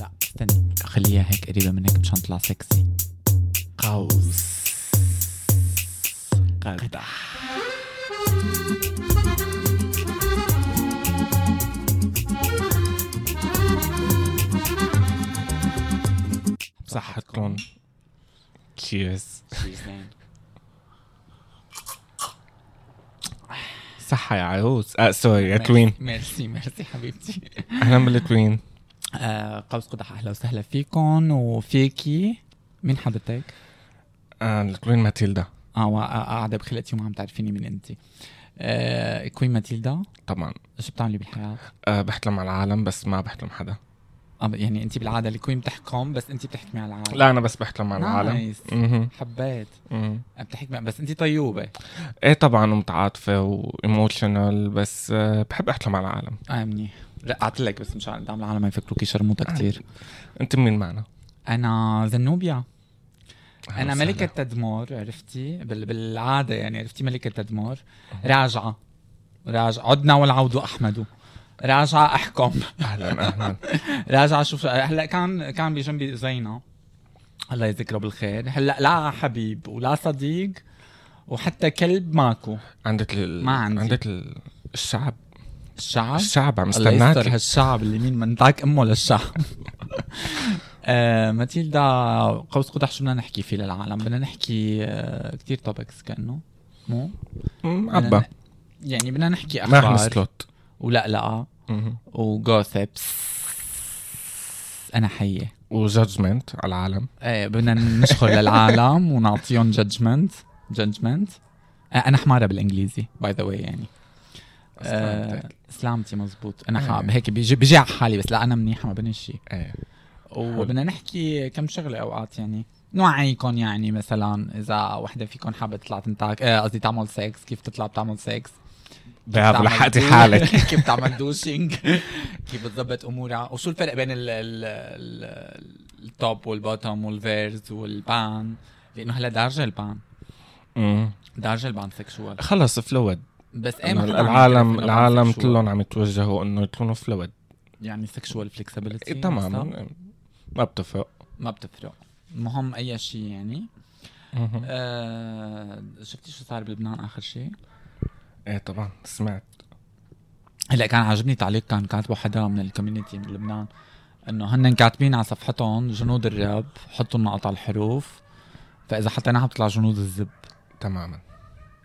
لا استني خليها هيك قريبة منك مشان تطلع سكسي قوس قدح صحتكم تشيرز صحة يا عروس اه سوري يا توين ميرسي ميرسي حبيبتي اهلا بالتوين آه، قوس قدح اهلا وسهلا فيكم وفيكي مين حضرتك؟ آه التوين ماتيلدا اه وا- آه، قاعدة بخلقتي وما عم تعرفيني من انت آه، كوين ماتيلدا طبعا شو بتعملي بالحياة؟ آه بحتلم على العالم بس ما بحتلم حدا آه، يعني انت بالعادة الكوين بتحكم بس انت بتحكمي على العالم لا انا بس بحتلم على العالم نايس مهم. حبيت آه، مهم. بتحكمي بس انت طيوبة ايه طبعا متعاطفة وايموشنال بس آه بحب احتلم على العالم اه منيح رقعت لك بس مشان قدام العالم ما يفكروكي شرموطة كثير انت مين معنا؟ انا زنوبيا أهلا انا وسهلا. ملكة تدمور عرفتي بال... بالعادة يعني عرفتي ملكة تدمور راجعة راجعة عدنا والعود احمد راجعة احكم اهلا اهلا راجعة شوف هلا كان كان بجنبي زينة الله يذكره بالخير هلا لا حبيب ولا صديق وحتى كلب ماكو عندك ال... ما عندي. عندك ال... الشعب الشعب الشعب عم الله يستر استناك هالشعب اللي مين منتعك امه للشعب آه ماتيلدا قوس قدح شو بدنا نحكي فيه للعالم بدنا نحكي آه كتير توبكس كانه مو مم، بدنا عبا نح- يعني بدنا نحكي ما احنا اخبار سلوت ولقلقه مهم. وجوثبس انا حيه وجادجمنت على العالم ايه بدنا نشخر للعالم ونعطيهم آه، جادجمنت جادجمنت انا حماره بالانجليزي باي ذا واي يعني آه، أسلمتك. سلامتي مزبوط انا إيه. حاب هيك بيجي بيجي على حالي بس لا انا منيحه ما بني شيء ايه وبدنا نحكي كم شغله اوقات يعني نوعيكم يعني مثلا اذا وحده فيكم حابه تطلع تنتاك آه، قصدي تعمل سكس كيف تطلع بتعمل سكس بعد بتعمل لحقتي دو- حالك كيف بتعمل دوشنج كيف بتظبط امورها وشو الفرق بين ال ال ال- التوب والبوتوم والفيرز والبان لانه هلا دارجه البان مم. دارجه البان سكشوال خلص فلويد بس ايه إنه ما حدا عم العالم يعرف إنه العالم bisexual. كلهم عم يتوجهوا انه يكونوا فلويد يعني سكشوال فليكسبيليتي إيه تمام ما بتفرق ما بتفرق المهم اي شيء يعني مهم. آه شفتي شو صار بلبنان اخر شيء؟ ايه طبعا سمعت هلا كان عاجبني تعليق كان كاتبه حدا من الكوميونتي من لبنان انه هن كاتبين على صفحتهم جنود الراب حطوا لنا قطع الحروف فاذا حطيناها بتطلع جنود الزب تماما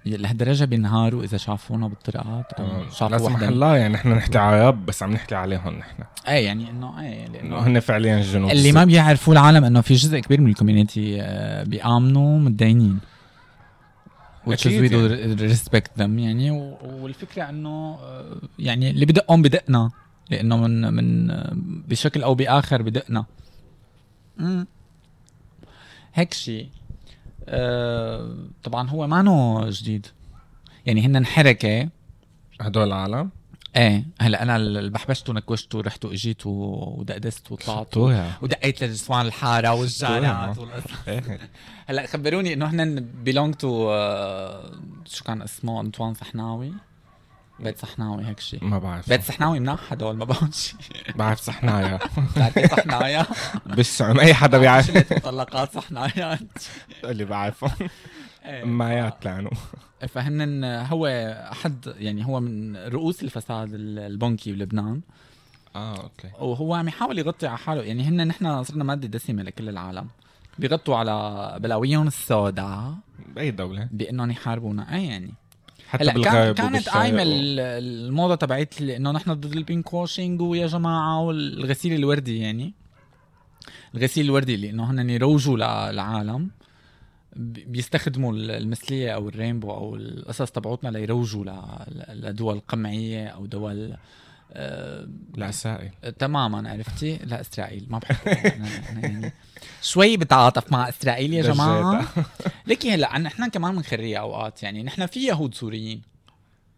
لهالدرجه بينهاروا اذا شافونا بالطرقات تمام او شافوا لا سمح وحده الله يعني نحن نحكي عرب بس عم نحكي عليهم نحن ايه يعني انه ايه انه لانه هن فعليا جنود اللي ما بيعرفوا العالم انه في جزء كبير من الكوميونتي آه، بيآمنوا متدينين which is we أكيد do respect them يعني و- والفكره انه آه، يعني اللي بدقهم بدقنا لانه من من آه، بشكل او باخر بدقنا مم. هيك شيء آه، طبعا هو مانو جديد يعني هن حركه هدول العالم ايه هلا انا اللي بحبشت ونكوشت ورحت واجيت و- ودقدست وطلعت طوها ودقيت للنسوان الحاره والجارات والقصة. هلا خبروني انه هن بيلونج تو آه، شو كان اسمه انطوان صحناوي بيت صحناوي هيك شيء ما بعرف بيت صحناوي مناح هدول ما بعرف شيء بعرف صحنايا بتعرفي صحنايا بالسعون اي حدا بيعرف شلة مطلقات صحنايا اللي بعرفهم إيه. مايات لعنوا فهن هو احد يعني هو من رؤوس الفساد ال- البنكي بلبنان اه آه، اوكي وهو عم يحاول يغطي على حاله يعني هن نحن صرنا ماده دسمه لكل العالم بيغطوا على بلاويهم السوداء باي دولة بانهم يحاربونا اي يعني حتى هلا كان بالغرب كانت وبالشرق قايمه و- ال- الموضه تبعت ال- انه نحن ضد البينك واشنج ويا جماعه والغسيل الوردي يعني الغسيل الوردي اللي انه هن يروجوا للعالم بي- بيستخدموا ال- المثليه او الرينبو او القصص تبعوتنا ليروجوا ل- ل- لدول قمعيه او دول آه، العسائل تماما عرفتي لا اسرائيل ما بحب أنا- أنا يعني شوي بتعاطف مع اسرائيل يا جماعه لكي هلا نحن كمان بنخريها اوقات يعني نحن في يهود سوريين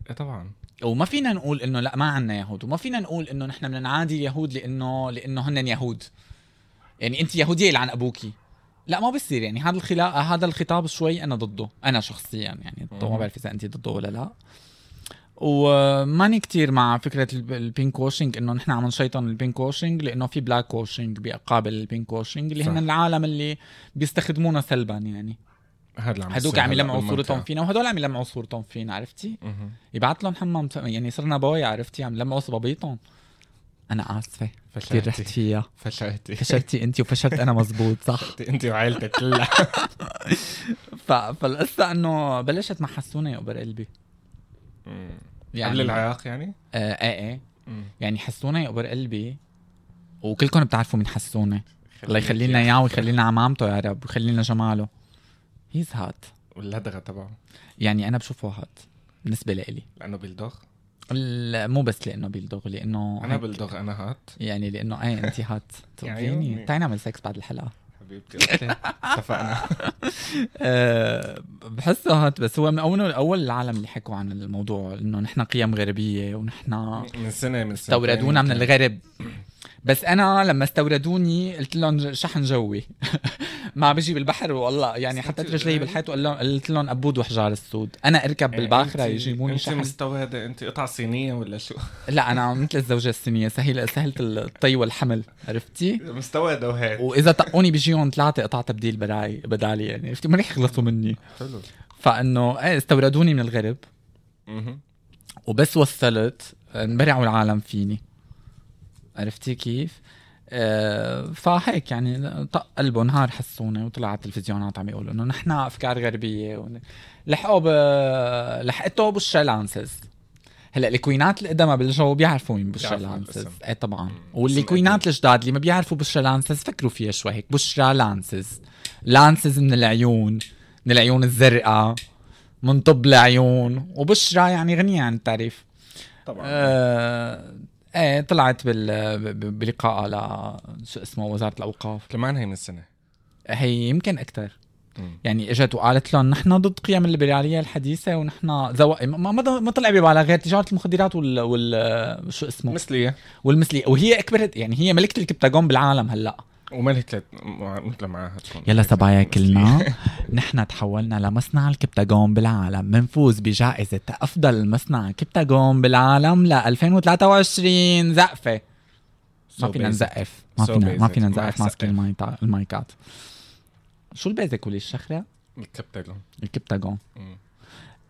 إيه طبعا وما فينا نقول انه لا ما عنا يهود وما فينا نقول انه نحن بدنا نعادي اليهود لانه لانه هن يهود يعني انت يهوديه يلعن ابوكي لا ما بصير يعني هذا الخلاق هذا الخطاب شوي انا ضده انا شخصيا يعني طبعا ما بعرف اذا انت ضده ولا لا وماني كتير مع فكرة الب- البينك واشنج انه نحن عم نشيطن البينك واشنج لانه في بلاك واشنج بيقابل البينك واشنج اللي صح. هن العالم اللي بيستخدمونا سلبا يعني هذا اللي عم هدوك يصير عم هلأ يلمعوا بالمنطقة. صورتهم فينا وهدول عم يلمعوا صورتهم فينا عرفتي؟ مهم. يبعت لهم حمام س- يعني صرنا بوي عرفتي عم لمعوا صبابيطهم انا اسفة كثير رحت فشلتي فيها فشلتي فشلتي انت وفشلت انا مزبوط صح انت وعائلتك كلها ف... فالقصة انه بلشت مع حسونة يا قبر قلبي مم. يعني قبل العراق يعني؟ آه ايه ايه مم. يعني حسونة يا قبر قلبي وكلكم بتعرفوا من حسونة الله خليك يخلينا اياه ويخلينا عمامته يا رب ويخلينا جماله هيز هات واللدغه تبعه يعني انا بشوفه هات بالنسبة لإلي لانه بلدغ ال- مو بس لانه بيلدغ لانه انا هيك- بلدغ انا هات يعني لانه ايه انت هات يا تقضيني عيوني. تعي نعمل سكس بعد الحلقه حبيبتي اوكي اتفقنا أه بحسه هات بس هو من اول اول العالم اللي حكوا عن الموضوع انه نحن قيم غربيه ونحن من سنه من سنه استوردونا آه. من الغرب بس انا لما استوردوني قلت لهم شحن جوي ما بجي بالبحر والله يعني استنتي- حطيت رجلي بالحيط وقال لهم قلت لهم ابود وحجار السود انا اركب إيه، بالباخره يجيبوني انت شحن مستورده انت قطعه صينيه ولا شو؟ لا انا مثل الزوجه الصينيه سهيله سهله الطي والحمل عرفتي مستورده وهيك واذا طقوني بيجيهم ثلاثه قطع تبديل بدالي بدالي يعني عرفتي ما رح يخلصوا مني حلو فانه ايه استوردوني من الغرب مهم. وبس وصلت انبرعوا العالم فيني عرفتي كيف؟ آه، فهيك يعني طق قلبه نهار حسونه وطلع على التلفزيونات عم يقولوا انه نحن افكار غربيه ون- لحقوا ب لحقته بالشلانسز هلا الكوينات القدما بالجو بيعرفوا مين بيعرفوا بالشلانسز الاسم. ايه طبعا مم. والكوينات الجداد اللي ما بيعرفوا بالشلانسز فكروا فيها شوي هيك بشرى لانسز لانسز من العيون من العيون الزرقاء من طب العيون وبشرى يعني غنية عن التعريف طبعا آه ايه طلعت بال ب- بلقائها ل شو اسمه وزارة الاوقاف كمان هي من سنه هي يمكن اكثر مم. يعني اجت وقالت لهم نحن ضد قيم الليبرالية الحديثة ونحن زو... ما ما ما طلع ببالها غير تجارة المخدرات وال, وال... شو اسمه مثلي والمثلي وهي اكبر يعني هي ملكة الكبتاجون بالعالم هلا وملكة مع- مثل معها تكون يلا ملكة سبايا مثلي. كلنا نحن تحولنا لمصنع الكبتاجون بالعالم منفوز بجائزة أفضل مصنع كبتاجون بالعالم ل 2023 زقفة ما So فينا basic. نزقف ما So فينا ما basic. فينا ما نزقف رح ماسك زقف. المايتا- المايكات شو البيزك ولي الشخرة؟ الكبتاجون الكبتاجون مم.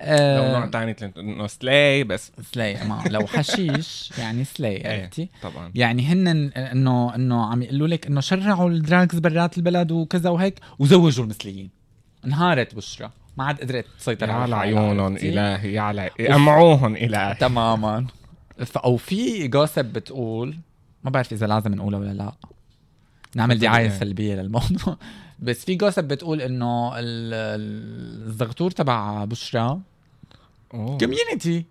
لو نوع أه تاني تلت- انه سلاي بس سلاي ما لو حشيش يعني سلاي إيه. عرفتي؟ طبعا يعني هن انه انه عم يقولوا لك انه شرعوا الدراجز برات البلد وكذا وهيك وزوجوا المثليين انهارت بشرى ما عاد قدرت تسيطر يا على على الحالة، عيونهم عرفتي؟ الهي يا على امعوهم الهي تماما ف- او في جوسب بتقول ما بعرف اذا لازم نقولها ولا لا نعمل دعايه إيه. سلبيه للموضوع بس في جوسب بتقول انه ال- ال- الزغتور تبع بشرى أوه. كوميونتي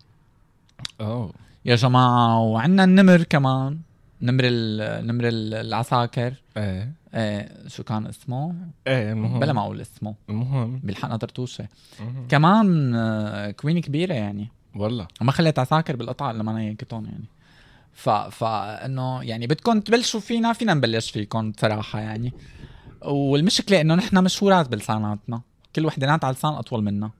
اوه يا جماعه وعندنا النمر كمان نمر ال- نمر ال- العساكر ايه آه، شو كان اسمه؟ ايه المهم بلا ما اقول اسمه المهم بالحقنا طرطوشه مهم. كمان آه، كوين كبيره يعني والله ما خلت عساكر بالقطعه لما انا ينكتون يعني ف فانه يعني بدكم تبلشوا فينا فينا نبلش فيكم بصراحه يعني والمشكله انه نحن مشهورات بلساناتنا كل وحدانات على لسان اطول منا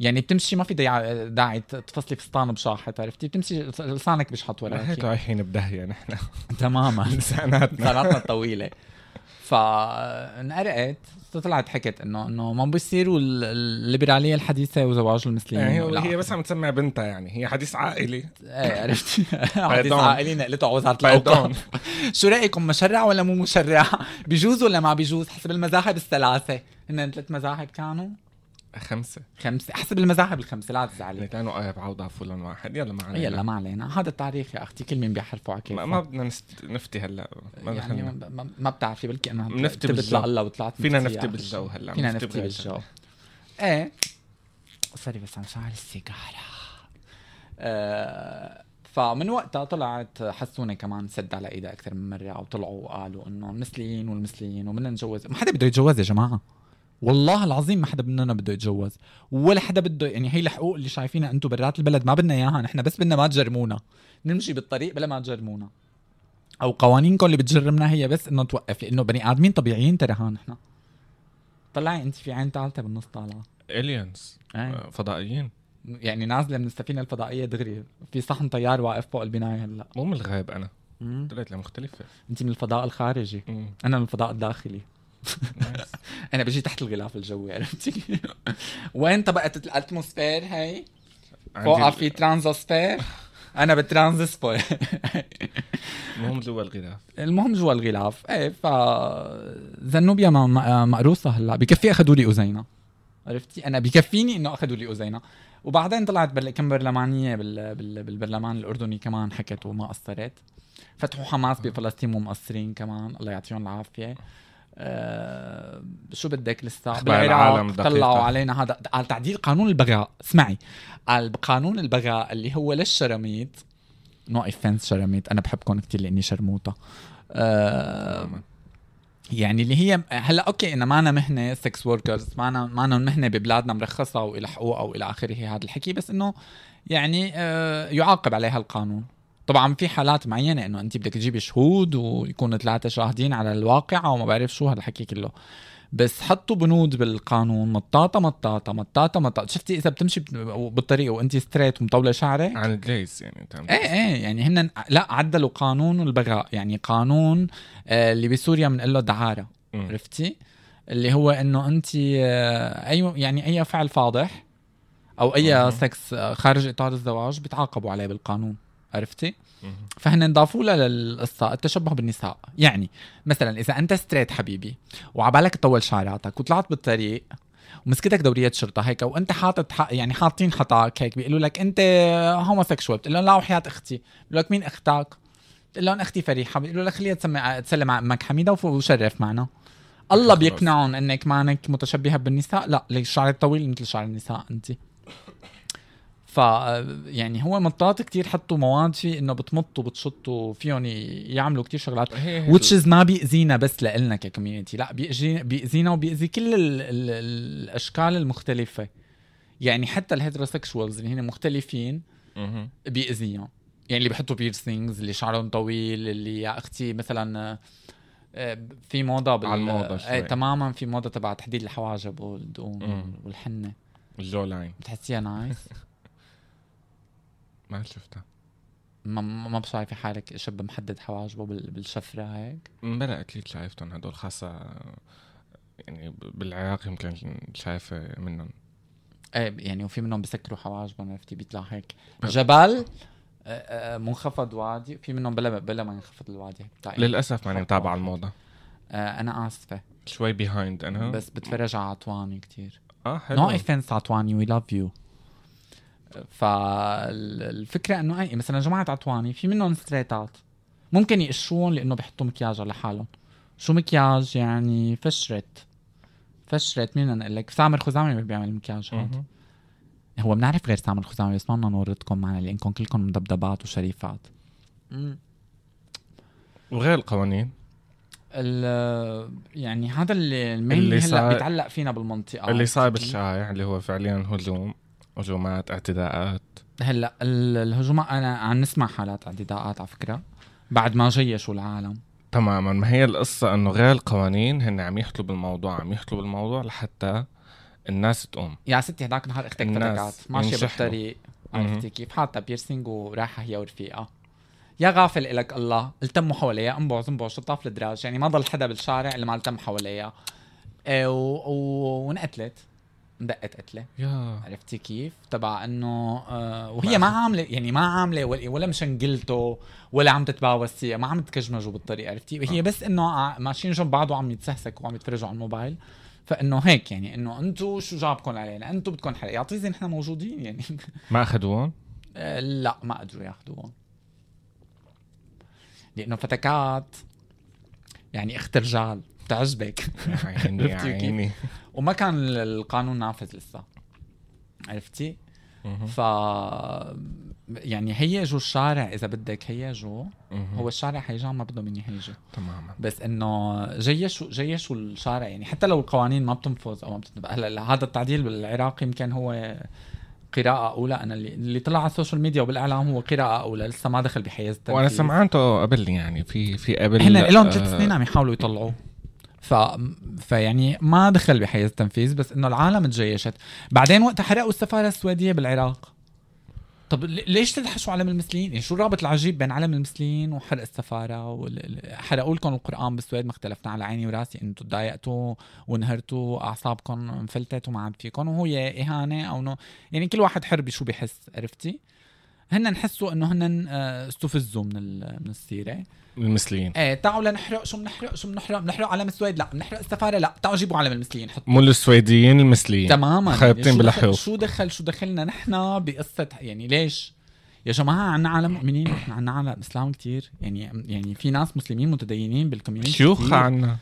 يعني بتمشي ما في داعي, داعي تفصلي فستان بشاحط عرفتي بتمشي لسانك بيشحط ما هيك وراك رايحين بداهيه نحن تماما لساناتنا قناتنا الطويله فانقرقت طلعت حكت انه انه ما بيصيروا ال- الليبراليه الحديثه وزواج المسلمين يعني هو- ولا- هي بس عم تسمع بنتها يعني هي حديث عائلي ايه عرفتي حديث Pardon. عائلي نقلته على وزاره باردون الاوقاف شو رايكم مشرع ولا مو مشرع؟ بجوز ولا ما بجوز؟ حسب المذاهب الثلاثه هن ثلاث مذاهب كانوا خمسه خمسه حسب المذاهب الخمسه لا يعني تزعلي كانوا اربعه وضعفوا لهم واحد يلا ما علينا يلا ما علينا هذا التاريخ يا اختي كل مين بيحرفوا على ما, كيفه ما بدنا نست- نفتي هلا ما يعني دخلنا ما- ما- ما بتعرفي بلكي انه بنفتي تبت بالجو. لله وطلعت فينا مفتية. نفتي بالجو هلا فينا نفتي بالجو. بالجو ايه سوري بس عم شعل السيجارة آه فمن وقتها طلعت حسونة كمان سد على ايدها اكثر من مرة وطلعوا وقالوا انه المثليين والمثليين وبدنا نتجوز ما حدا بده يتجوز يا جماعة والله العظيم ما حدا مننا بده يتجوز ولا حدا بده يعني هي الحقوق اللي شايفينها انتم برات البلد ما بدنا اياها نحن بس بدنا ما تجرمونا نمشي بالطريق بلا ما تجرمونا او قوانينكم اللي بتجرمنا هي بس انه توقف لانه بني ادمين طبيعيين ترى ها نحن طلعي انت في عين ثالثه بالنص طالعه الينز ايه فضائيين يعني نازله من السفينه الفضائيه دغري في صحن طيار واقف فوق البنايه هلا مو من الغاب انا طلعت لمختلفه انت من الفضاء الخارجي مم. انا من الفضاء الداخلي نايس. انا بجي تحت الغلاف الجوي عرفتي وين طبقه الاتموسفير هي فوقها عندي- في ترانزوسفير انا بالترانزسفير المهم جوا الغلاف المهم جوا الغلاف ايه ف زنوبيا م- م- مقروصه هلا بكفي اخذوا لي ازينه عرفتي انا بكفيني انه اخذوا لي ازينه وبعدين طلعت بل... كم برلمانيه بال... بال... بالبرلمان الاردني كمان حكت وما قصرت فتحوا آه. حماس بفلسطين ومقصرين كمان الله يعطيهم العافيه أه... شو بدك لسه أخبار العالم بالعراق دقيقة. طلعوا علينا هذا قال تعديل قانون البغاء اسمعي قال قانون البغاء اللي هو للشراميط نو اوفنس شراميط انا بحبكم كثير لاني شرموطه أه... تماماً. يعني اللي هي هلا اوكي انه معنا مهنه سكس وركرز معنا معنا مهنه ببلادنا مرخصه والى حقوقها والى اخره هذا الحكي بس انه يعني آه، يعاقب عليها القانون طبعا في حالات معينه انه انت بدك تجيبي شهود ويكونوا ثلاثه شاهدين على الواقعه وما بعرف شو هالحكي كله بس حطوا بنود بالقانون مطاطه مطاطه مطاطه مطاطه شفتي اذا بتمشي بت- بالطريق وانت ستريت ومطوله شعرك عن الجيز يعني انت عم ايه ايه يعني هن لا عدلوا قانون البغاء يعني قانون آه، اللي بسوريا بنقول له دعاره مم. عرفتي اللي هو انه انت آه، اي يعني اي فعل فاضح او مهم. اي سكس آه، خارج اطار الزواج بتعاقبوا عليه بالقانون عرفتي مم. فهن ضافوا لها للقصه التشبه بالنساء يعني مثلا اذا انت ستريت حبيبي وعبالك تطول شعراتك وطلعت بالطريق ومسكتك دوريه شرطه هيك وانت حاطط حق يعني حاطين حطاك هيك بيقولوا لك انت هوموسيكشوال بتقول لهم لا وحياه اختي بيقولوا لك مين اختك بتقول لهم اختي فريحه بيقولوا لك خليها تسمي تسلم على امك حميده وف- وشرف معنا الله خلاص. بيقنعهم انك مانك متشبهه بالنساء لا ليش شعرك طويل مثل شعر النساء انت ف يعني هو مطاط كتير حطوا مواد فيه انه بتمطوا بتشطوا فيهم يعملوا كتير شغلات هي هي which is ما بيأذينا بس لإلنا ككوميونتي لا بيأذينا بيأذينا وبيأذي كل ال ال الأشكال المختلفة يعني حتى الهيتروسexuals اللي هن مختلفين مهم. بيأذيهم يعني اللي بيحطوا بيرسينجز اللي شعرهم طويل اللي يا اختي مثلا آه، آه، في موضه بال على الموضة شوي. آه، تماما في موضه تبع تحديد الحواجب والدقون مم. والحنه الجو لاين بتحسيها نايس ما شفتها ما ما بشايفه حالك شاب محدد حواجبه بال- بالشفره هيك امبارح اكيد شايفتهم هدول خاصه يعني ب- بالعراق يمكن شايفه منهم ايه يعني وفي منهم بسكروا حواجبهم عرفتي بيطلع هيك جبل آه، آه، منخفض وادي في منهم بلا بلا ما ينخفض الوادي بتاع- للاسف ماني متابع على الموضه آه، انا اسفه شوي بيهايند انا بس بتفرج على عطواني كتير اه نو حلو اوفنس عطواني وي لاف يو فالفكره انه اي مثلا جماعه عطواني في منهم ستريتات ممكن يقشون لانه بيحطوا مكياج على حالهم شو مكياج يعني فشرت فشرت مين انا اقول لك سامر خزامي بيعمل مكياج هاد مهم. هو بنعرف غير سامر خزامي بس ما بدنا نورطكم معنا لانكم كلكم مدبدبات وشريفات وغير القوانين ال- يعني هذا اللي اللي المين هلا صار- بيتعلق فينا بالمنطقه اللي صاير كتير. بالشارع اللي هو فعليا هجوم هجومات اعتداءات هلا ال- الهجوم انا عم نسمع حالات اعتداءات على فكره بعد ما جيشوا العالم تماما ما هي القصة انه غير القوانين هن عم يحكوا بالموضوع عم يحكوا بالموضوع لحتى الناس تقوم يا ستي هداك نهار اختك الناس فتكات ماشيه ينشحنوا. بالطريق مهم. عرفتي كيف حاطه بيرسينج ورايحه هي ورفيقها يا غافل الك الله التموا حواليها انبعث انبعث طاف الدراج يعني ما ضل حدا بالشارع اللي ما التم حواليها إيه، و- و- وانقتلت اندقت قتله يا عرفتي كيف؟ تبع انه آه وهي ما- ما عامله يعني ما عامله ولا, ولا مشنقلته ولا عم تتباوس فيها ما عم تكجمجوا بالطريق عرفتي؟ هي بس انه ع- ماشيين جنب بعض وعم يتسهسكوا وعم يتفرجوا على الموبايل فانه هيك يعني انه انتم شو جابكم علينا؟ انتم بدكم حرق يعطيزي نحن موجودين يعني ما اخذوهم آه لا ما قدروا ياخذوهم لانه فتكات يعني اخت رجال بتعجبك يا عيني يا عرفتي كيف؟ عيني وما كان القانون نافذ لسه عرفتي؟ مهم. ف يعني هيجوا الشارع اذا بدك هيجوا مهم. هو الشارع هيجان ما بدهم مني هيجوا Oh, تماما بس انه جيشوا جيشوا الشارع يعني حتى لو القوانين ما بتنفذ او ما بتنفذ هلا هذا التعديل بالعراقي يمكن هو قراءة أولى أنا اللي, اللي طلع على السوشيال ميديا وبالإعلام هو قراءة أولى لسه ما دخل بحيز التنفيذ وانا سمعته قبل يعني في في قبل هن لهم آه، ثلاث سنين عم يحاولوا يطلعوه ف... فيعني ما دخل بحيز التنفيذ بس انه العالم تجيشت بعدين وقت حرقوا السفاره السويديه بالعراق طب ل- ليش تدحشوا علم المسلمين؟ يعني شو الرابط العجيب بين علم المسلمين وحرق السفاره وحرقوا لكم القران بالسويد ما اختلفنا على عيني وراسي انتم تضايقتوا ونهرتوا اعصابكم انفلتت وما عاد فيكم وهي اهانه او نو يعني كل واحد حر بشو بحس عرفتي؟ هن حسوا انه هن آه، استفزوا من ال- من السيره المثليين ايه تعوا لنحرق شو بنحرق شو بنحرق بنحرق علم السويد لا بنحرق السفاره لا تعوا جيبوا علم المسلمين حطوا مو السويديين المثليين تماما خايبتين شو دخل- بالحيوط. شو دخل شو دخلنا نحن بقصه يعني ليش يا جماعه عنا عالم مؤمنين نحن عنا عالم اسلام كتير يعني يعني في ناس مسلمين متدينين بالكوميونتي شيوخ كتير. عنا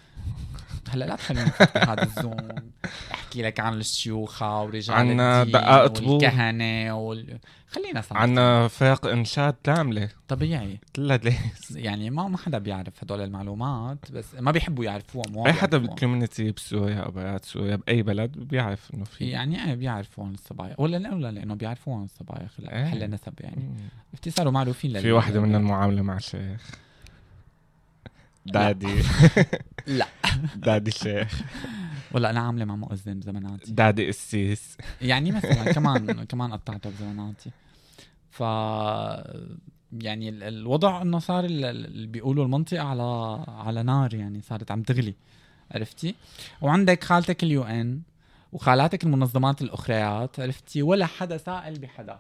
هلا لا تخليني أفتح هذا الزوم احكي لك عن الشيوخه ورجال عنا الدين دقائق طبول. والكهنه وال... خلينا صراحة. عنا فاق انشاد كامله طبيعي لا ليه يعني ما ما حدا بيعرف هدول المعلومات بس ما بيحبوا يعرفوها مو اي حدا بيعرفوها. بالكوميونتي بسوريا او بلاد سوريا باي بلد بيعرف انه في يعني ايه بيعرفوا عن الصبايا ولا لا ولا لانه بيعرفوا عن الصبايا إيه. خلال حل نسب يعني صاروا معروفين لل- في واحدة من المعاملة مع شيخ دادي لا دادي شيخ ولا انا عامله مع مؤذن بزماناتي دادي قسيس يعني مثلا كمان كمان قطعته بزماناتي ف يعني ال- الوضع انه صار ال- ال- اللي بيقولوا المنطقه على على نار يعني صارت عم تغلي عرفتي وعندك خالتك اليو ان وخالاتك المنظمات الاخريات عرفتي ولا حدا سائل بحدا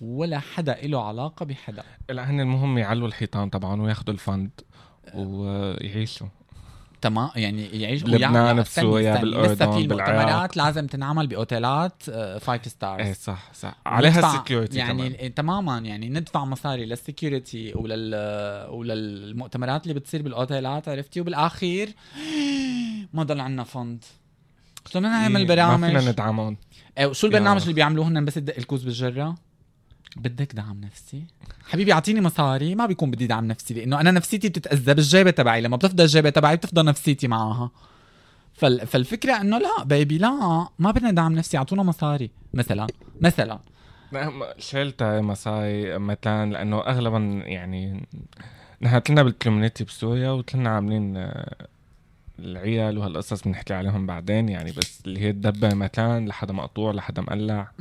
ولا حدا له علاقه بحدا لا هن المهم يعلوا الحيطان طبعا وياخذوا الفند آه. ويعيشوا تمام يعني يعيش بلبنان، ويعمل- لا، بسوريا، استني، استني. لسه في بالأردن، بالعراق. المؤتمرات لازم تنعمل آه، باوتيلات فايف ايه ستارز صح صح عليها سكيورتي يعني يعني إيه، تماما يعني ندفع مصاري للسكيورتي ولل وللمؤتمرات اللي بتصير بالاوتيلات عرفتي وبالاخير ما ضل عنا فند شو بدنا نعمل إيه، ما فينا برامج ندعمهم إيه، شو البرنامج يا. اللي بيعملوه هن بس تدق الكوز بالجره بدك دعم نفسي حبيبي اعطيني مصاري ما بيكون بدي دعم نفسي لانه انا نفسيتي بتتاذى بالجيبه تبعي لما بتفضى الجيبه تبعي بتفضى نفسيتي معها فال... فالفكره انه لا بيبي لا ما بدنا دعم نفسي اعطونا مصاري مثلا مثلا شلت مصاري مثلا لانه اغلبا يعني نحن طلنا بالكوميونتي بسوريا وطلنا عاملين آه، العيال وهالقصص بنحكي عليهم بعدين يعني بس اللي هي الدبه مثلا لحدا مقطوع لحدا مقلع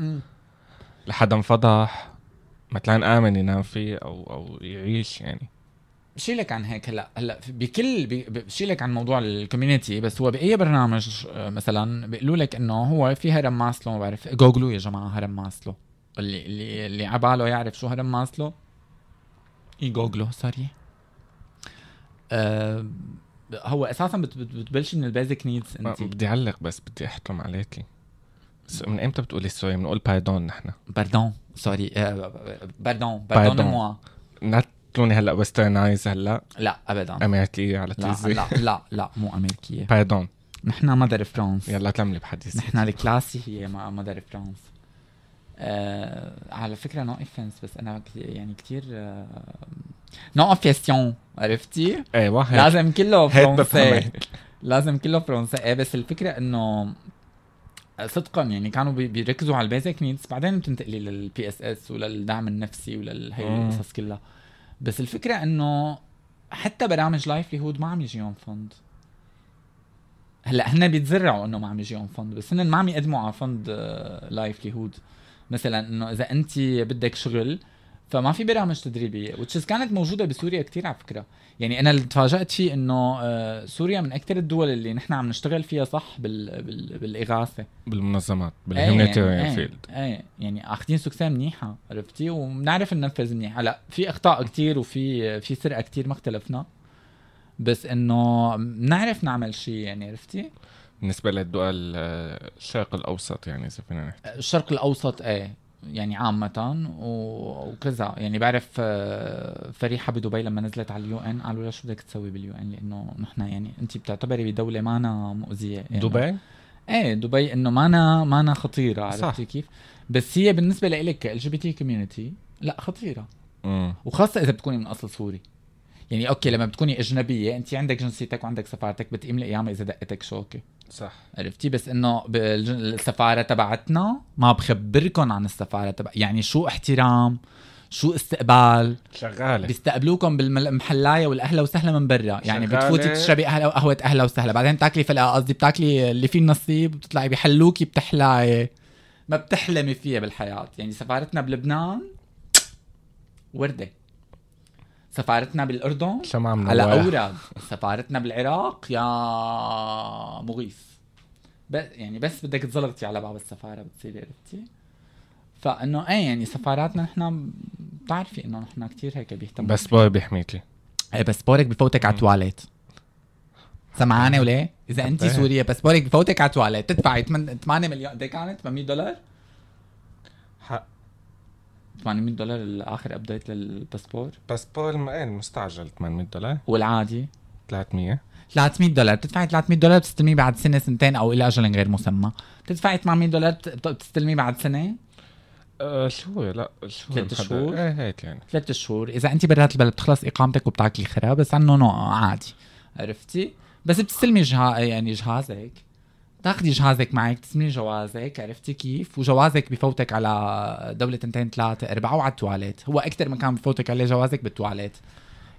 لحدا انفضح مثلا امن ينام فيه او او يعيش يعني شيلك عن هيك هلا هلا في- بكل بي- ب- شيلك عن موضوع الكوميونتي بس هو باي برنامج آه، مثلا بيقولوا لك انه هو في هرم ماسلو ما بعرف جوجلوا يا جماعه هرم ماسلو اللي اللي اللي عباله يعرف شو هرم ماسلو يجوجلو سوري أه هو اساسا بت- بت- بتبلش من البيزك نيدز ما انت بدي اعلق بس بدي احكم عليكي س- من امتى بتقولي سوري بنقول بايدون نحن باردون سوري آه، باردون باردون. باردون موا لا تقولوني هلا ويسترنايز هلا لا ابدا امريكيه على لا تيزي لا لا لا مو امريكيه بايدون نحن مدر فرنسا يلا تلملي بحديث نحن الكلاسي هي ما- مدر فرنسا آه على فكره نو اوفنس بس انا كت- يعني كثير نو اوفيسيون عرفتي؟ ايوه هيك لازم كله هيك فرنسي بفهمك لازم كله فرنسي ايه بس الفكره انه صدقا يعني كانوا بي- بيركزوا على البيزك نيدز بعدين بتنتقلي للبي اس اس وللدعم النفسي وللهي مم. القصص كلها بس الفكره انه حتى برامج لايف ليهود ما عم يجيهم فند هلا هن بيتزرعوا انه ما عم يجيهم فند بس هن ما عم يقدموا على فند آه، لايف ليهود مثلا انه اذا انت بدك شغل فما في برامج تدريبيه وتشيز كانت موجوده بسوريا كتير على فكره يعني انا اللي تفاجات فيه انه آه، سوريا من اكثر الدول اللي نحن عم نشتغل فيها صح بال... بال... بالاغاثه بالمنظمات إيه، بالهيومانيتيريان فيلد ايه ايه يعني اخذين سكسي منيحه عرفتي وبنعرف ننفذ منيح هلا في اخطاء كتير وفي في سرقه كتير ما اختلفنا بس انه بنعرف نعمل شيء يعني عرفتي بالنسبه للدول آه، الشرق الاوسط يعني اذا فينا نحكي الشرق الاوسط ايه يعني عامة و- وكذا يعني بعرف آه، فريحة بدبي لما نزلت على اليو ان قالوا لها شو بدك تسوي باليو ان لانه نحن يعني انت بتعتبري بدولة مانا مؤذية يعني دبي ايه دبي انه مانا مانا خطيرة صح. عرفتي كيف؟ بس هي بالنسبة لإلك ال جي بي تي كوميونتي لا خطيرة مم. وخاصة إذا بتكوني من أصل سوري يعني اوكي لما بتكوني اجنبيه انت عندك جنسيتك وعندك سفارتك بتقيم القيامه اذا دقتك شوكه صح عرفتي بس انه بالج- السفاره تبعتنا ما بخبركم عن السفاره تبع يعني شو احترام شو استقبال شغاله بيستقبلوكم بالمحلايه والاهلا وسهلا من برا يعني شغالة. بتفوتي بتشربي قهوه قهوه اهلا وسهلا بعدين بتاكلي فلقه قصدي بتاكلي اللي فيه النصيب بتطلعي بحلوكي بتحلاي ما بتحلمي فيها بالحياه يعني سفارتنا بلبنان ورده سفارتنا بالاردن شمعة منوعة على اورد سفارتنا بالعراق يا مغيث بس يعني بس بدك تزلطي على بعض السفاره بتصيري عرفتي فانه ايه يعني سفاراتنا نحن بتعرفي انه نحن كتير هيك بيهتموا بس بوي بيحميكي ايه باسبورك بفوتك على التواليت سمعانه ولا؟ اذا انت سوريه باسبورك بفوتك على التواليت تدفعي 8 مليون قد إيه كانت 800 دولار حق 800 دولار الاخر ابديت للباسبور بس بول المقال مستعجل 800 دولار والعادي 300 300 دولار بتدفعي 300 دولار بتستلميه بعد سنه سنتين او الى اجل غير مسمى بتدفعي 800 دولار بت- بت- بتستلميه بعد سنه أه شو لا شو تلت محضر. شهور؟ ايه هيك يعني ثلاث شهور اذا انت برات البلد بتخلص اقامتك وبتاكلي خراب بس عنه نوع عادي عرفتي بس بتستلمي جها يعني جهازك تاخدي جهازك معك تسمي جوازك عرفتي كيف وجوازك بفوتك على دولة تنتين ثلاثة أربعة وعلى التواليت هو أكثر مكان بفوتك عليه جوازك بالتواليت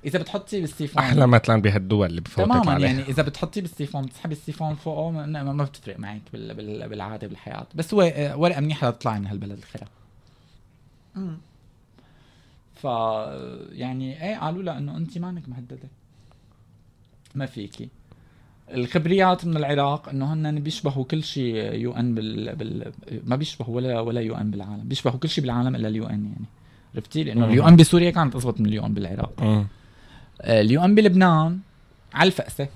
إذا بتحطي بالسيفون احلى مثلا بهالدول اللي بفوتك تماما عليها يعني اذا بتحطيه بالسيفون بتسحبي السيفون فوقه ما- ما ما بتفرق معك بال- بال- بالعاده بالحياه بس هو آه، ورقه منيحه لتطلعي من هالبلد الخرا ف يعني ايه قالوا لها انه انت مانك مهدده ما فيكي الخبريات من العراق انه هن بيشبهوا كل شيء يو ان بال... بال... ما بيشبهوا ولا ولا يو ان بالعالم بيشبهوا كل شيء بالعالم الا اليو ان يعني عرفتي لانه مم. اليو ان بسوريا كانت اضبط من اليو ان بالعراق مم. اليو ام آه، بلبنان على الفقسه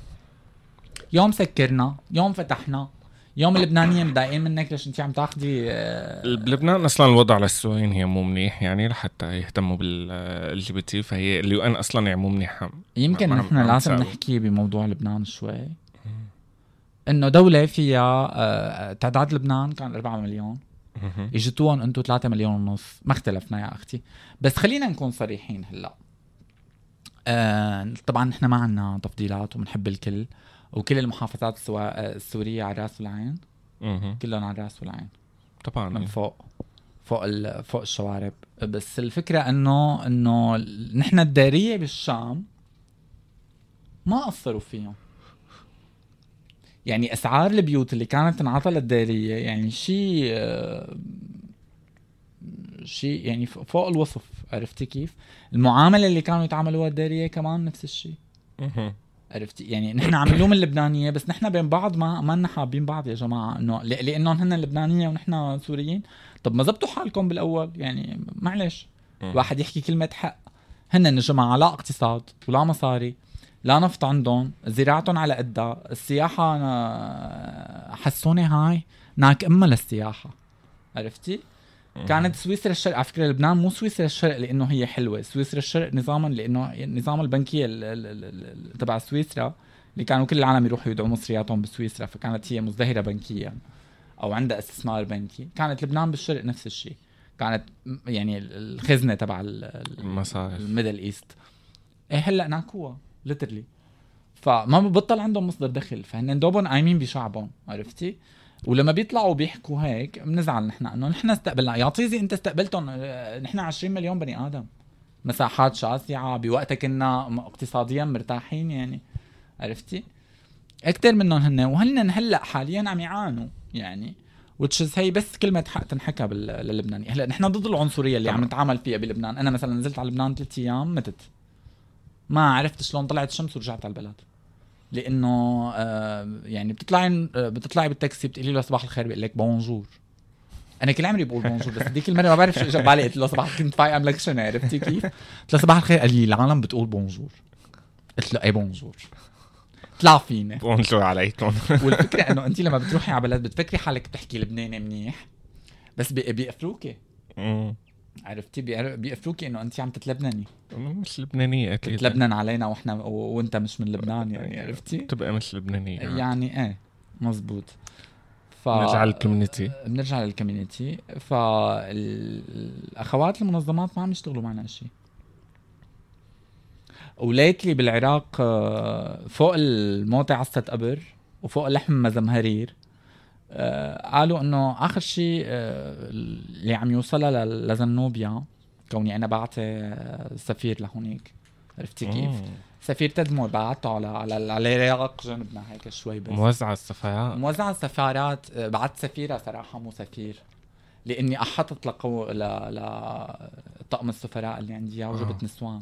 يوم سكرنا يوم فتحنا يوم اللبنانية مضايقين منك ليش انت عم تاخدي آه، بلبنان اصلا الوضع للسوريين هي مو منيح يعني لحتى يهتموا بال جي بي تي فهي اليو ان اصلا يعني مو منيحه يمكن ما إيه. عم- نحن عم لازم تساوي. نحكي بموضوع لبنان شوي انه دولة فيها آه، تعداد لبنان كان 4 مليون مهم. اجتوهم انتم 3 مليون ونص ما اختلفنا يا اختي بس خلينا نكون صريحين هلا آه طبعا نحن ما عندنا تفضيلات وبنحب الكل وكل المحافظات السوا- آه، السورية على راس والعين مهم. كلهم على راس والعين من طبعا فوق فوق ال... فوق الشوارب بس الفكره انه انه ال- نحن الداريه بالشام ما قصروا فيهم يعني اسعار البيوت اللي كانت تنعطى للداريه يعني شيء شيء يعني ف- فوق الوصف عرفتي كيف؟ المعامله اللي كانوا يتعاملوها الداريه كمان نفس الشيء مهم. عرفتي يعني نحن عم نلوم اللبنانيه بس نحن بين بعض ما ما لنا حابين بعض يا جماعه انه ل- لانهم هن لبنانيه ونحن سوريين طب ما زبطوا حالكم بالاول يعني معلش مم. واحد يحكي كلمه حق هن يا جماعه لا اقتصاد ولا مصاري لا نفط عندهم زراعتهم على قدها السياحه آه، حسوني هاي ناك امها للسياحه عرفتي كانت سويسرا الشرق على فكره لبنان مو سويسرا الشرق لانه هي حلوه سويسرا الشرق نظاما لانه نظام البنكيه ال- ال- ال- ال- تبع سويسرا اللي كانوا كل العالم يروحوا يدعوا مصرياتهم بسويسرا فكانت هي مزدهره بنكيا او عندها استثمار بنكي كانت لبنان بالشرق نفس الشيء كانت م- يعني ال- الخزنه تبع ال- ال- مصارف الميدل ايست ايه هلا ناكوها ليترلي فما ببطل عندهم مصدر دخل فهن دوبهم قايمين بشعبهم عرفتي ولما بيطلعوا بيحكوا هيك بنزعل نحن انه نحن استقبلنا يا طيزي انت استقبلتهم آه، نحن 20 مليون بني ادم مساحات شاسعه بوقتها كنا م- اقتصاديا مرتاحين يعني عرفتي اكثر منهم هن وهن هلا حاليا عم يعانوا يعني وتشز هي بس كلمة حق تنحكى بال- للبناني هلا نحن ضد العنصرية اللي عم طبعاً. نتعامل فيها بلبنان انا مثلا نزلت على لبنان ثلاث ايام متت ما عرفت شلون طلعت الشمس ورجعت على البلد لانه آه يعني بتطلعي آه، بتطلعي بالتاكسي بتقولي له صباح الخير بيقول لك بونجور انا كل عمري بقول بونجور بس ديك المره ما بعرف شو اجى ببالي قلت له صباح كنت فايق ام لك شنو عرفتي كيف؟ قلت له صباح الخير قال لي العالم بتقول بونجور قلت له اي بونجور طلع فينا بونجور عليكم والفكره انه انت لما بتروحي على بلد بتفكري حالك بتحكي لبناني منيح بس بي- بيقفلوكي مم. عرفتي بيعر- بيقفلوكي انه انت عم تتلبنني مش لبنانيه اكيد تتلبنن علينا واحنا و- وانت مش من لبنان يعني عرفتي تبقى مش لبنانيه يعني آه، ايه مزبوط ف نرجع للكوميونتي بنرجع للكوميونتي فالاخوات المنظمات ما عم يشتغلوا معنا شيء وليتلي بالعراق آه، فوق الموتى عصة قبر وفوق لحم مزمهرير آه، قالوا انه اخر شيء آه، اللي عم يوصلها ل- لزنوبيا كوني انا بعتي سفير لهونيك عرفتي كيف؟ سفير تدمر بعته على على على العراق جنبنا هيك شوي بس موزعة الصفايات موزع السفارات آه، بعت سفيرة صراحة مو سفير لاني احطت لقو ل... ل... طقم السفراء اللي عندي اياه وجبت آه. نسوان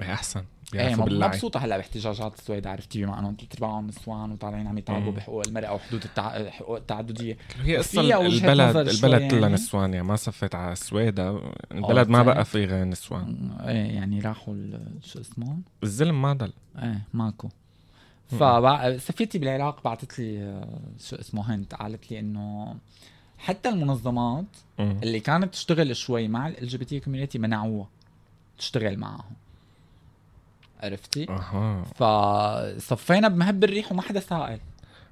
ايه احسن ايه بيعرفوا مب- باللعي مبسوطه هلا باحتجاجات السويد عرفتي بما انهم ثلاث ارباعهم نسوان وطالعين عم يطالبوا مم. بحقوق المراه وحدود التع... حقوق التعدديه هي قصة فيها وجهة البلد نظر شوي البلد كلها يعني. آه، نسوان يعني ما صفت على السويدة البلد ما بتعرف. بقى في غير نسوان ايه يعني راحوا ال- شو اسمه الزلم ما ضل ايه ماكو مم. فسفيرتي بالعراق بعثت لي آه، شو اسمه هنت قالت لي انه حتى المنظمات مم. اللي كانت تشتغل شوي مع ال جي بي تي كوميونيتي منعوها تشتغل معهم عرفتي؟ اها فصفينا بمهب الريح وما حدا سائل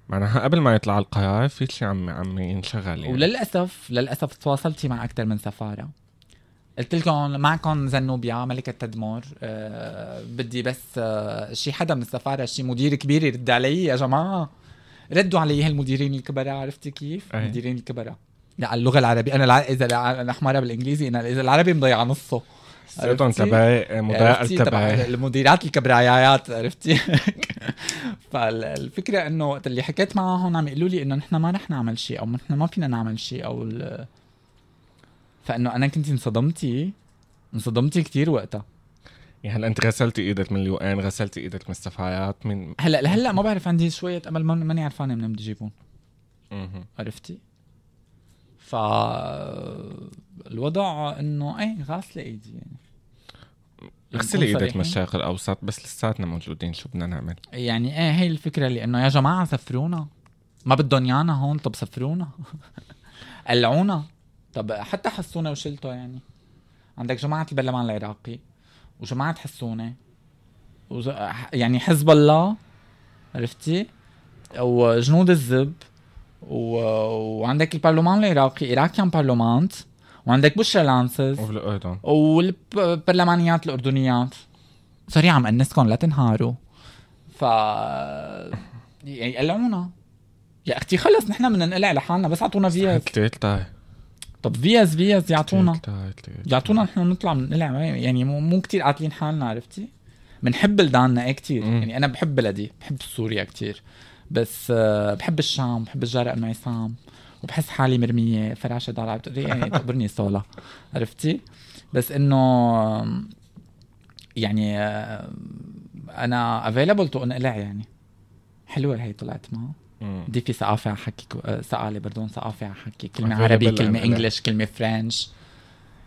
معناها قبل ما يطلع القرار في شيء عم عم ينشغل يعني وللاسف للاسف تواصلتي مع اكثر من سفاره قلت لكم معكم زنوبيا ملكة تدمر أه بدي بس أه شي حدا من السفارة شي مدير كبير يرد علي يا جماعة ردوا علي هالمديرين الكبراء عرفتي كيف؟ أي. المديرين الكبراء لا اللغة العربية أنا الع... إذا الع- أنا حمارة بالإنجليزي أنا إذا العربي مضيع نصه سيرتهم عرفتي؟ تبعي مضايقة عرفتي؟ تبع تبعي المديرات الكبرايات عرفتي فالفكره انه وقت اللي حكيت معهم عم يقولوا لي انه نحن ما رح نعمل شيء او نحن ما فينا نعمل شيء او ال... فانه انا كنت انصدمتي انصدمتي كتير وقتها يعني هلا انت غسلتي ايدك من اليو ان غسلتي ايدك من السفايات من هلا لهلا ما بعرف عندي شويه امل ما- ماني عرفانه منين بدي جيبهم مهم. عرفتي ف الوضع انه ايه غاسله ايدي يعني غسلي نكون ايدك من صريحين. الشرق الاوسط بس لساتنا موجودين شو بدنا نعمل يعني ايه هي الفكره اللي انه يا جماعه سفرونا ما بدهم يانا هون طب سفرونا قلعونا طب حتى حسونا وشلته يعني عندك جماعه البرلمان العراقي وجماعه حسونا وز... يعني حزب الله عرفتي وجنود الزب و... وعندك البرلمان العراقي ايراكيان بارلمانت وعندك بشرى لانسز وفي الاردن والبرلمانيات الاردنيات سوري عم انسكم لا تنهاروا ف يعني قلعونا يا اختي خلص نحن بدنا نقلع لحالنا بس اعطونا فيز كتير طاي طب فيز فيز يعطونا طيب، يعطونا يعطونا نحن نطلع بنقلع يعني مو, مو كتير قاتلين حالنا عرفتي بنحب بلداننا ايه كتير مم. يعني انا بحب بلدي بحب سوريا كتير بس آه، بحب الشام بحب الجارة ام عصام وبحس حالي مرميه فراشه ضالعه بتقولي يعني تقبرني صولا عرفتي بس انه آم، يعني آه، انا افيلبل تو انقلع يعني حلوه هي طلعت معها ضيفي ثقافة على حكي آه، سقالة بردون ثقافة على حكي كلمة Available عربي كلمة لإنقلع. انجلش كلمة فرنش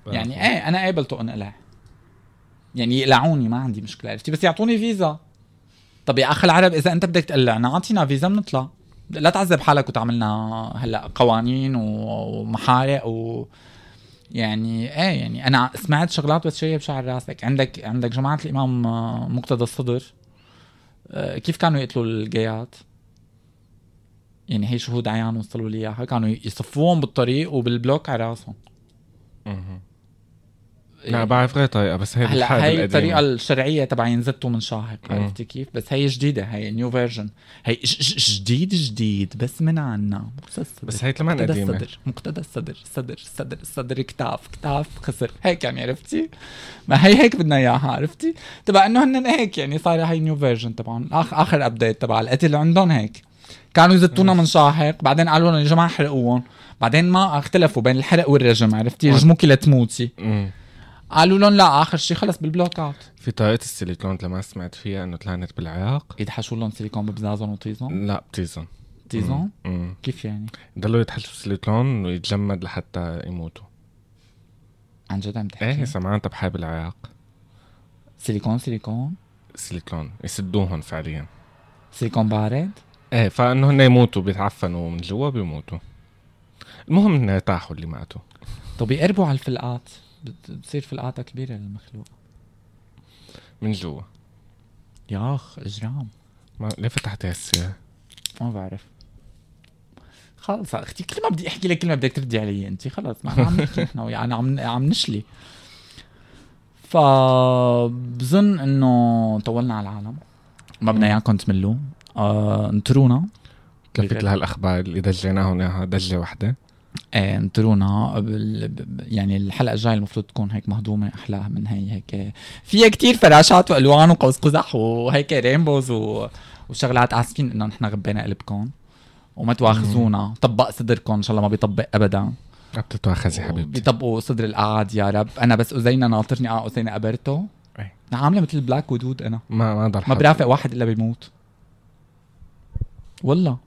يعني ايه انا قابل تو انقلع يعني يقلعوني ما عندي مشكله عرفتي بس يعطوني فيزا طب يا اخي العرب اذا انت بدك تقلعنا اعطينا فيزا بنطلع لا تعذب حالك وتعملنا هلا قوانين و- ومحارق و يعني ايه يعني انا سمعت شغلات بتشيب شعر راسك عندك عندك جماعه الامام آه، مقتدى الصدر آه، كيف كانوا يقتلوا الجيات يعني هي شهود عيان وصلوا لي اياها كانوا يصفوهم بالطريق وبالبلوك على راسهم لا بعرف غير طريقه بس هي إيه؟ هلا بالحرب هي القديمة. آه. الطريقه الشرعيه تبع ينزتوا من شاهق مم. عرفتي كيف بس هي جديده هي نيو فيرجن هي ج- ج- جديد جديد بس من عنا بس بس هي كمان مقتدى قديمه الصدر مقتدى الصدر صدر صدر صدر كتاف كتاف خسر هيك يعني عرفتي ما هي هيك بدنا اياها عرفتي تبع انه هن هيك يعني صار هي نيو فيرجن تبعهم اخر اخر ابديت تبع القتل عندهم هيك كانوا آه. يزتونا من شاهق بعدين قالوا لنا يا جماعه حرقوهم بعدين ما اختلفوا بين الحرق والرجم آه. عرفتي يرجموك لتموتي مم. قالوا لهم لا اخر شيء خلص بالبلوك اوت في طريقه السيليكون لما سمعت فيها انه طلعت بالعراق يدحشوا لهم سيليكون ببزازهم وطيزهم لا بتيزن طيزهم مم. كيف يعني ضلوا يتحشوا سيليكون ويتجمد لحتى يموتوا عن جد عم تحكي ايه سمعتها بحرب العراق سيليكون سيليكون سيليكون يسدوهم فعليا سيليكون بارد ايه فانه هن يموتوا بيتعفنوا من جوا بيموتوا المهم انه ارتاحوا اللي ماتوا طب يقربوا على الفلقات بت- بتصير فلقاتها كبيره للمخلوق من جوا يا اخ اجرام ما ليه فتحت هالسيره؟ ما بعرف خلص اختي كل ما بدي احكي لك كل ما بدك تردي علي انت خلص ما عم نحكي نحن ويا- انا عم عم نشلي ف بظن انه طولنا على العالم ما بدنا اياكم تملوا آه انطرونا كفيت لهالاخبار اللي دجيناهم اياها دجه وحده ايه انطرونا بال... ب- يعني الحلقه الجايه المفروض تكون هيك مهضومه احلى من هي هيك فيها كتير فراشات والوان وقوس قزح وهيك رينبوز و... وشغلات اسفين انه نحن غبينا قلبكم وما تواخذونا طبق صدركم ان شاء الله ما بيطبق ابدا ما بتتواخذي حبيبتي بيطبقوا صدر القعد يا رب انا بس أزينة ناطرني اه أزينة قبرته إيه. أنا عامله مثل بلاك ودود انا ما ما ضل ما حد. برافق واحد الا بيموت والله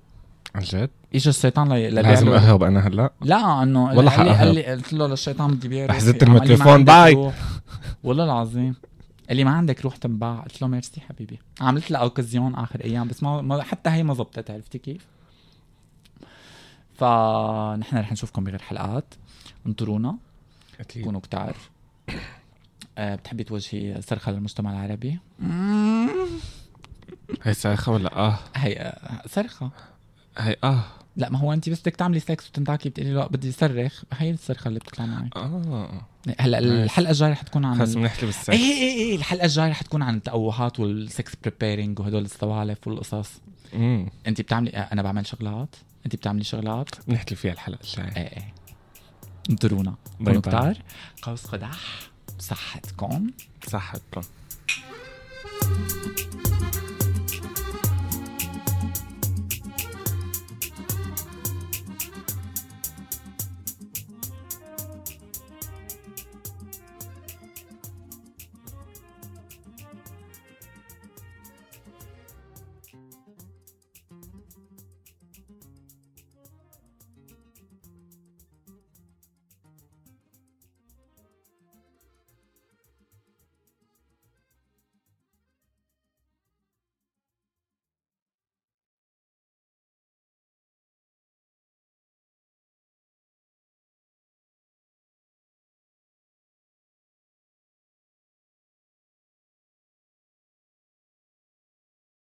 عن جد اجى الشيطان لي... لبيع لازم له- اهرب انا هلا لا انه والله قال لي حقها. قال لي قلت له للشيطان بدي بيع روحي. حزت عم قال لي ما الميكروفون، عندك باي. روح. والله العظيم قال لي ما عندك روح تنباع قلت له ميرسي حبيبي عملت لها اوكازيون اخر ايام بس ما, ما حتى هي ما زبطت عرفتي كيف فنحن رح نشوفكم بغير حلقات انطرونا اكيد كونوا كتار آه، بتحبي توجهي صرخه للمجتمع العربي هي صرخه ولا اه هي آه، صرخه هي اه لا ما هو انت بس بدك تعملي سكس وتنتعكي بتقولي لا بدي صرخ هي الصرخه اللي بتطلع معك اه هلا الحلقه الجايه رح تكون عن خلص بنحكي ايه بالسكس ايه ايه الحلقه الجايه رح تكون عن التقوهات والسكس بريبيرنج وهدول السوالف والقصص امم انت بتعملي آه، انا بعمل شغلات انت بتعملي شغلات بنحكي فيها الحلقه الجايه ايه ايه انطرونا باي كونوا باي. كتار قوس قدح صحتكم صحتكم